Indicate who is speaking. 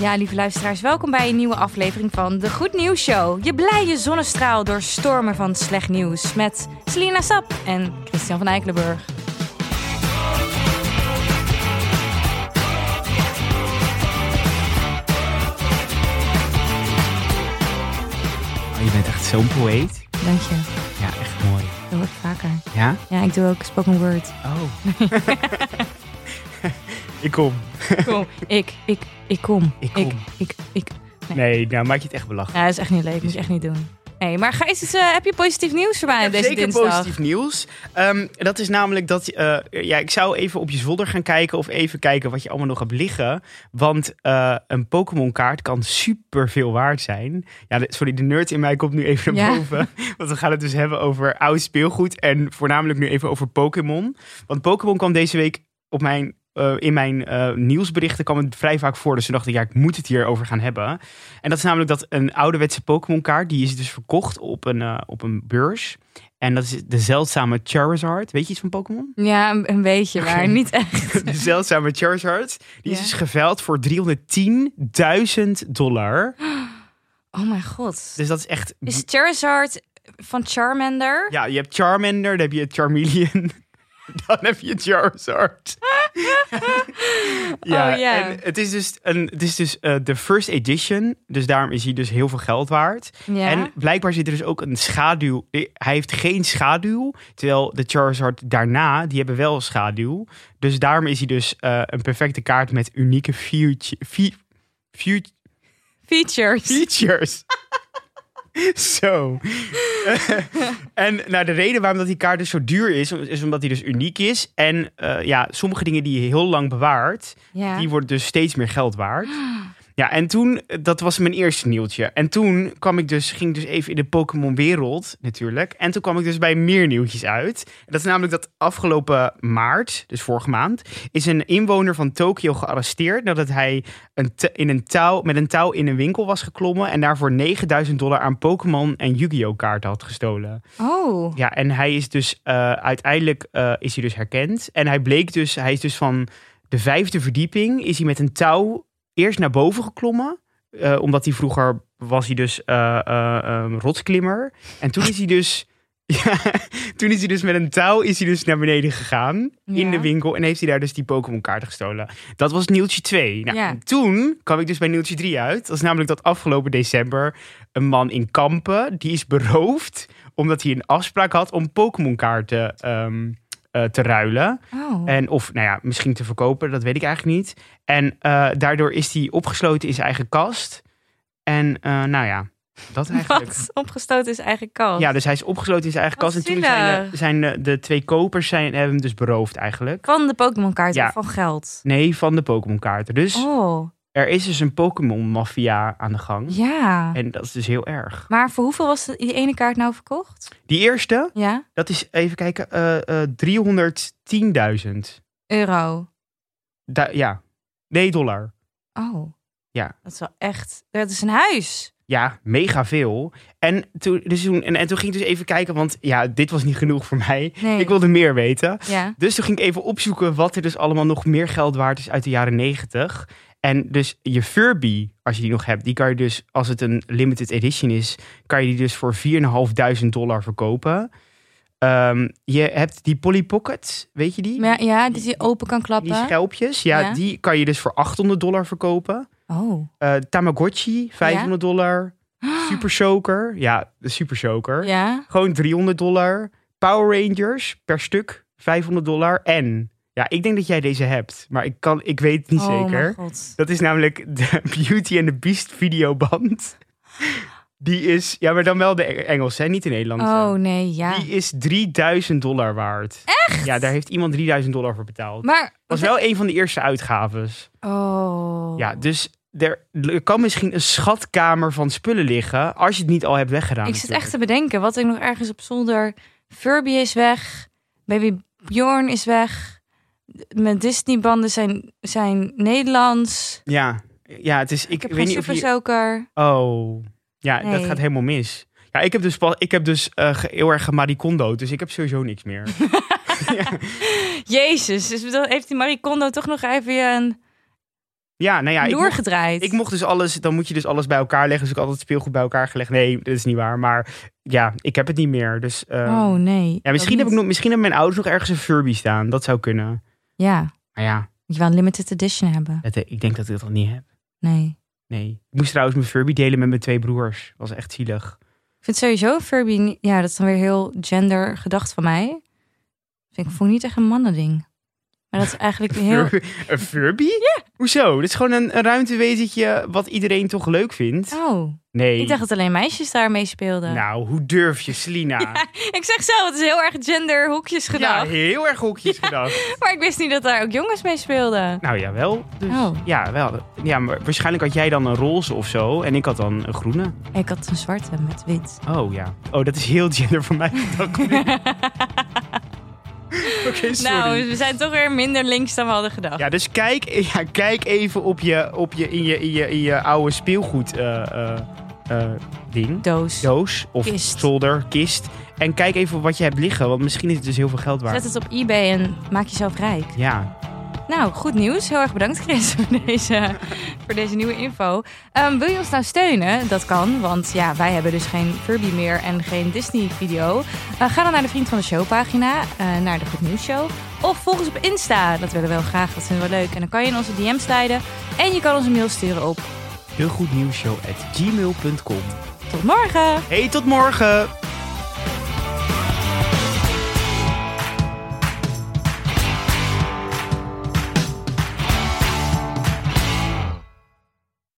Speaker 1: Ja, lieve luisteraars, welkom bij een nieuwe aflevering van de Goed Nieuws Show. Je blije zonnestraal door stormen van slecht nieuws met Selina Sap en Christian van Eikelenburg.
Speaker 2: Oh, je bent echt zo'n poëet.
Speaker 1: Dank je,
Speaker 2: Ja, echt mooi.
Speaker 1: dat hoort vaker.
Speaker 2: Ja?
Speaker 1: Ja, ik doe ook spoken word.
Speaker 2: Oh. ik kom.
Speaker 1: Kom, ik, ik, ik kom.
Speaker 2: Ik kom.
Speaker 1: Ik, ik, ik.
Speaker 2: Nee, nou maak je het echt belachelijk.
Speaker 1: Ja, dat is echt niet leuk, moet je echt niet doen. Nee, maar ga eens, eh, heb je positief nieuws voor mij
Speaker 2: Ik heb
Speaker 1: deze
Speaker 2: zeker
Speaker 1: dinsdag?
Speaker 2: positief nieuws. Ehm, dat is namelijk dat... eh, ja, ik zou even op je zolder gaan kijken... of even kijken wat je allemaal nog hebt liggen. Want eh, een Pokémon-kaart kan super veel waard zijn. Ja, de- sorry, de nerd in mij komt nu even naar
Speaker 1: Ja.
Speaker 2: boven. Want we gaan het dus hebben over oud speelgoed... en voornamelijk nu even over Pokémon. Want Pokémon kwam deze week op mijn... eh, in mijn eh, nieuwsberichten kwam het vrij vaak voor. Dus toen dacht ik, ja, ik moet het hierover gaan hebben. En dat is namelijk dat een ouderwetse Pokémon-kaart... die is dus verkocht op een, eh, op een beurs. En dat is de zeldzame Charizard. Weet je iets van Pokémon?
Speaker 1: Ja, een, een beetje, maar niet echt.
Speaker 2: De zeldzame Charizard. Die is
Speaker 1: Ja.
Speaker 2: dus geveild voor 310.000 dollar.
Speaker 1: Oh mijn god.
Speaker 2: Dus dat is echt...
Speaker 1: Is Charizard van Charmander?
Speaker 2: Ja, je hebt Charmander, dan heb je Charmeleon. Dan heb je Charizard. ja,
Speaker 1: Oh, ja.
Speaker 2: en het is dus, een, het is dus eh, de first edition. Dus daarom is hij dus heel veel geld waard.
Speaker 1: Ja.
Speaker 2: En blijkbaar zit er dus ook een schaduw. eh, Hij heeft geen schaduw. Terwijl de Charizard daarna, die hebben wel schaduw. Dus daarom is hij dus eh, een perfecte kaart met unieke future,
Speaker 1: Features.
Speaker 2: features. Zo. en nou, de reden waarom dat die kaart dus zo duur is, is omdat die dus uniek is. En eh, ja, sommige dingen die je heel lang bewaart,
Speaker 1: Ja.
Speaker 2: die worden dus steeds meer geld waard. Ja, en toen, eh, dat was mijn eerste nieuwtje. En toen kwam ik dus, ging ik dus even in de Pokémon-wereld natuurlijk. En toen kwam ik dus bij meer nieuwtjes uit. En Dat is namelijk dat afgelopen maart, dus vorige maand, is een inwoner van Tokio gearresteerd nadat hij een t- in een touw, met een touw in een winkel was geklommen en daarvoor 9000 dollar aan Pokémon en Yu-Gi-Oh kaarten had gestolen.
Speaker 1: Oh.
Speaker 2: Ja, en hij is dus eh, uiteindelijk eh, is hij dus herkend. En hij bleek dus, hij is dus van de vijfde verdieping, is hij met een touw eerst naar boven geklommen. Eh, omdat hij vroeger was hij dus eh, eh, ehm, rotsklimmer. En toen is hij dus. Ja, toen is hij dus met een touw is hij dus naar beneden gegaan
Speaker 1: Ja.
Speaker 2: in de winkel en heeft hij daar dus die Pokémon kaarten gestolen. Dat was nieuwtje 2. Nou,
Speaker 1: Ja.
Speaker 2: en Toen kwam ik dus bij nieuwtje 3 uit. Dat is namelijk dat afgelopen december een man in Kampen, die is beroofd omdat hij een afspraak had om Pokémon kaarten ehm, eh, te ruilen.
Speaker 1: Oh.
Speaker 2: En of, nou ja, misschien te verkopen, dat weet ik eigenlijk niet. En eh, daardoor is hij opgesloten in zijn eigen kast. En eh, nou ja, dat eigenlijk.
Speaker 1: Wat opgestoten is eigen kast.
Speaker 2: Ja, dus hij is opgesloten in zijn eigen
Speaker 1: Wat
Speaker 2: kast. En toen zijn,
Speaker 1: zielig.
Speaker 2: eh, zijn eh, de twee kopers zijn, hebben hem dus beroofd eigenlijk.
Speaker 1: Van de Pokémon kaart
Speaker 2: Ja.
Speaker 1: of van geld.
Speaker 2: Nee, van de Pokémon-kaarten. Dus
Speaker 1: Oh,
Speaker 2: er is dus een Pokémon-maffia aan de gang.
Speaker 1: ja.
Speaker 2: En dat is dus heel erg.
Speaker 1: Maar voor hoeveel was die ene kaart nou verkocht?
Speaker 2: Die eerste,
Speaker 1: Ja,
Speaker 2: dat is even kijken, eh, eh, 310.000.
Speaker 1: euro.
Speaker 2: Da- ja, nee, dollar.
Speaker 1: Oh.
Speaker 2: Ja.
Speaker 1: Dat is wel echt... Dat is een huis.
Speaker 2: Ja, mega veel. En toen, dus toen, en, en toen ging ik dus even kijken, want ja, dit was niet genoeg voor mij.
Speaker 1: Nee.
Speaker 2: Ik wilde meer weten.
Speaker 1: Ja.
Speaker 2: Dus toen ging ik even opzoeken wat er dus allemaal nog meer geld waard is uit de jaren 90. En dus je Furby, als je die nog hebt, die kan je dus, als het een limited edition is, kan je die dus voor 4.500 dollar verkopen. Ehm, je hebt die Polly Pocket, weet je die?
Speaker 1: Maar ja, dat je open kan
Speaker 2: die
Speaker 1: klappen.
Speaker 2: schelpjes, ja,
Speaker 1: Ja.
Speaker 2: die kan je dus voor 800 dollar verkopen.
Speaker 1: Oh.
Speaker 2: Eh, Tamagotchi, 500 dollar. Super Soaker. Ja, de Super Soaker.
Speaker 1: Ja.
Speaker 2: Gewoon 300 dollar. Power Rangers per stuk 500 dollar. En, ja, ik denk dat jij deze hebt, maar ik, kan, ik weet het niet
Speaker 1: Oh,
Speaker 2: zeker.
Speaker 1: mijn god.
Speaker 2: Dat is namelijk de Beauty and the Beast videoband. Die is, ja, maar dan wel de Engels, hè, niet de Nederlandse.
Speaker 1: Oh, nee, ja.
Speaker 2: Die is 3000 dollar waard. Echt? Ja, daar heeft iemand 3000 dollar voor betaald.
Speaker 1: Maar...
Speaker 2: was wel een van de eerste uitgaves.
Speaker 1: Oh.
Speaker 2: Ja, dus er, er kan misschien een schatkamer van spullen liggen als je het niet al hebt weggedaan.
Speaker 1: Ik zit echt
Speaker 2: natuurlijk.
Speaker 1: te bedenken wat ik nog ergens op zolder. Furby is weg. Baby Bjorn is weg. Mijn Disney-banden zijn, zijn Nederlands.
Speaker 2: Ja, ja, het is. Ik,
Speaker 1: Ik heb
Speaker 2: weet
Speaker 1: geen
Speaker 2: niet of
Speaker 1: super
Speaker 2: je.
Speaker 1: soaker.
Speaker 2: Oh, ja, dat
Speaker 1: Nee.
Speaker 2: gaat helemaal mis. Ja, ik heb dus, pas- ik heb dus eh, ge- heel erg gemarikondo, dus ik heb sowieso niks meer.
Speaker 1: Jezus, dus dan heeft die Marie Kondo toch nog even een
Speaker 2: Ja, nou ja, ik mocht,
Speaker 1: doorgedraaid.
Speaker 2: ik mocht dus alles, dan moet je dus alles bij elkaar leggen. Dus ik had altijd speelgoed bij elkaar gelegd. Nee, dat is niet waar. Maar ja, ik heb het niet meer. Dus ehm,
Speaker 1: oh nee.
Speaker 2: ja, misschien, heb ik
Speaker 1: nog.
Speaker 2: nog, misschien hebben mijn ouders nog ergens een Furby staan. Dat zou kunnen.
Speaker 1: Ja,
Speaker 2: Maar ja,
Speaker 1: moet je wel een limited edition hebben.
Speaker 2: het- ik denk dat ik dat nog niet heb.
Speaker 1: Nee.
Speaker 2: Nee. Ik moest trouwens mijn Furby delen met mijn twee broers. Dat was echt zielig.
Speaker 1: Ik vind sowieso Furby... niet- Ja, dat is dan weer heel gender gedacht van mij. Vind ik voel niet echt een mannending. Maar dat is eigenlijk een heel...
Speaker 2: Furby- Een Furby? Ja. Hoezo? Dit is gewoon een, een ruimtewezentje wat iedereen toch leuk vindt.
Speaker 1: Oh,
Speaker 2: Nee.
Speaker 1: ik dacht dat alleen meisjes daarmee speelden.
Speaker 2: Nou, hoe durf je, Selina?
Speaker 1: Ik zeg zo, het is heel erg genderhoekjes
Speaker 2: Ja,
Speaker 1: gedacht.
Speaker 2: heel erg hoekjes gedacht.
Speaker 1: Maar ik wist niet dat daar ook jongens mee speelden.
Speaker 2: Nou, jawel. Dus,
Speaker 1: Oh.
Speaker 2: Ja, wel. Ja, maar waarschijnlijk had jij dan een roze of zo. En ik had dan een groene.
Speaker 1: Ik had een zwarte met wit.
Speaker 2: Oh, ja. Oh, dat is heel gender van mij. gedacht. Oké, sorry.
Speaker 1: Nou, we zijn toch weer minder links dan we hadden gedacht.
Speaker 2: Ja, dus kijk, ja, kijk even op je, op je, in, je, in, je, in je oude speelgoed eh, eh, eh, ding.
Speaker 1: Doos.
Speaker 2: Doos of
Speaker 1: Kist.
Speaker 2: zolder, kist. En kijk even wat je hebt liggen, want misschien is het dus heel veel geld waard.
Speaker 1: Zet het op eBay en maak jezelf rijk.
Speaker 2: Ja,
Speaker 1: Nou, goed nieuws. Heel erg bedankt, Chris, voor deze, voor deze nieuwe info. Ehm, wil je ons nou steunen? Dat kan, want ja, wij hebben dus geen Furby meer en geen Disney-video. Eh, ga dan naar de Vriend van de Show-pagina, eh, naar de Goed Nieuws Show. Of volg ons op Insta. Dat willen we wel graag, dat vinden we leuk. En dan kan je in onze DM's sliden en je kan ons een mail sturen op.
Speaker 2: degoednieuwsshow.gmail.com
Speaker 1: Tot morgen!
Speaker 2: Hey, tot morgen!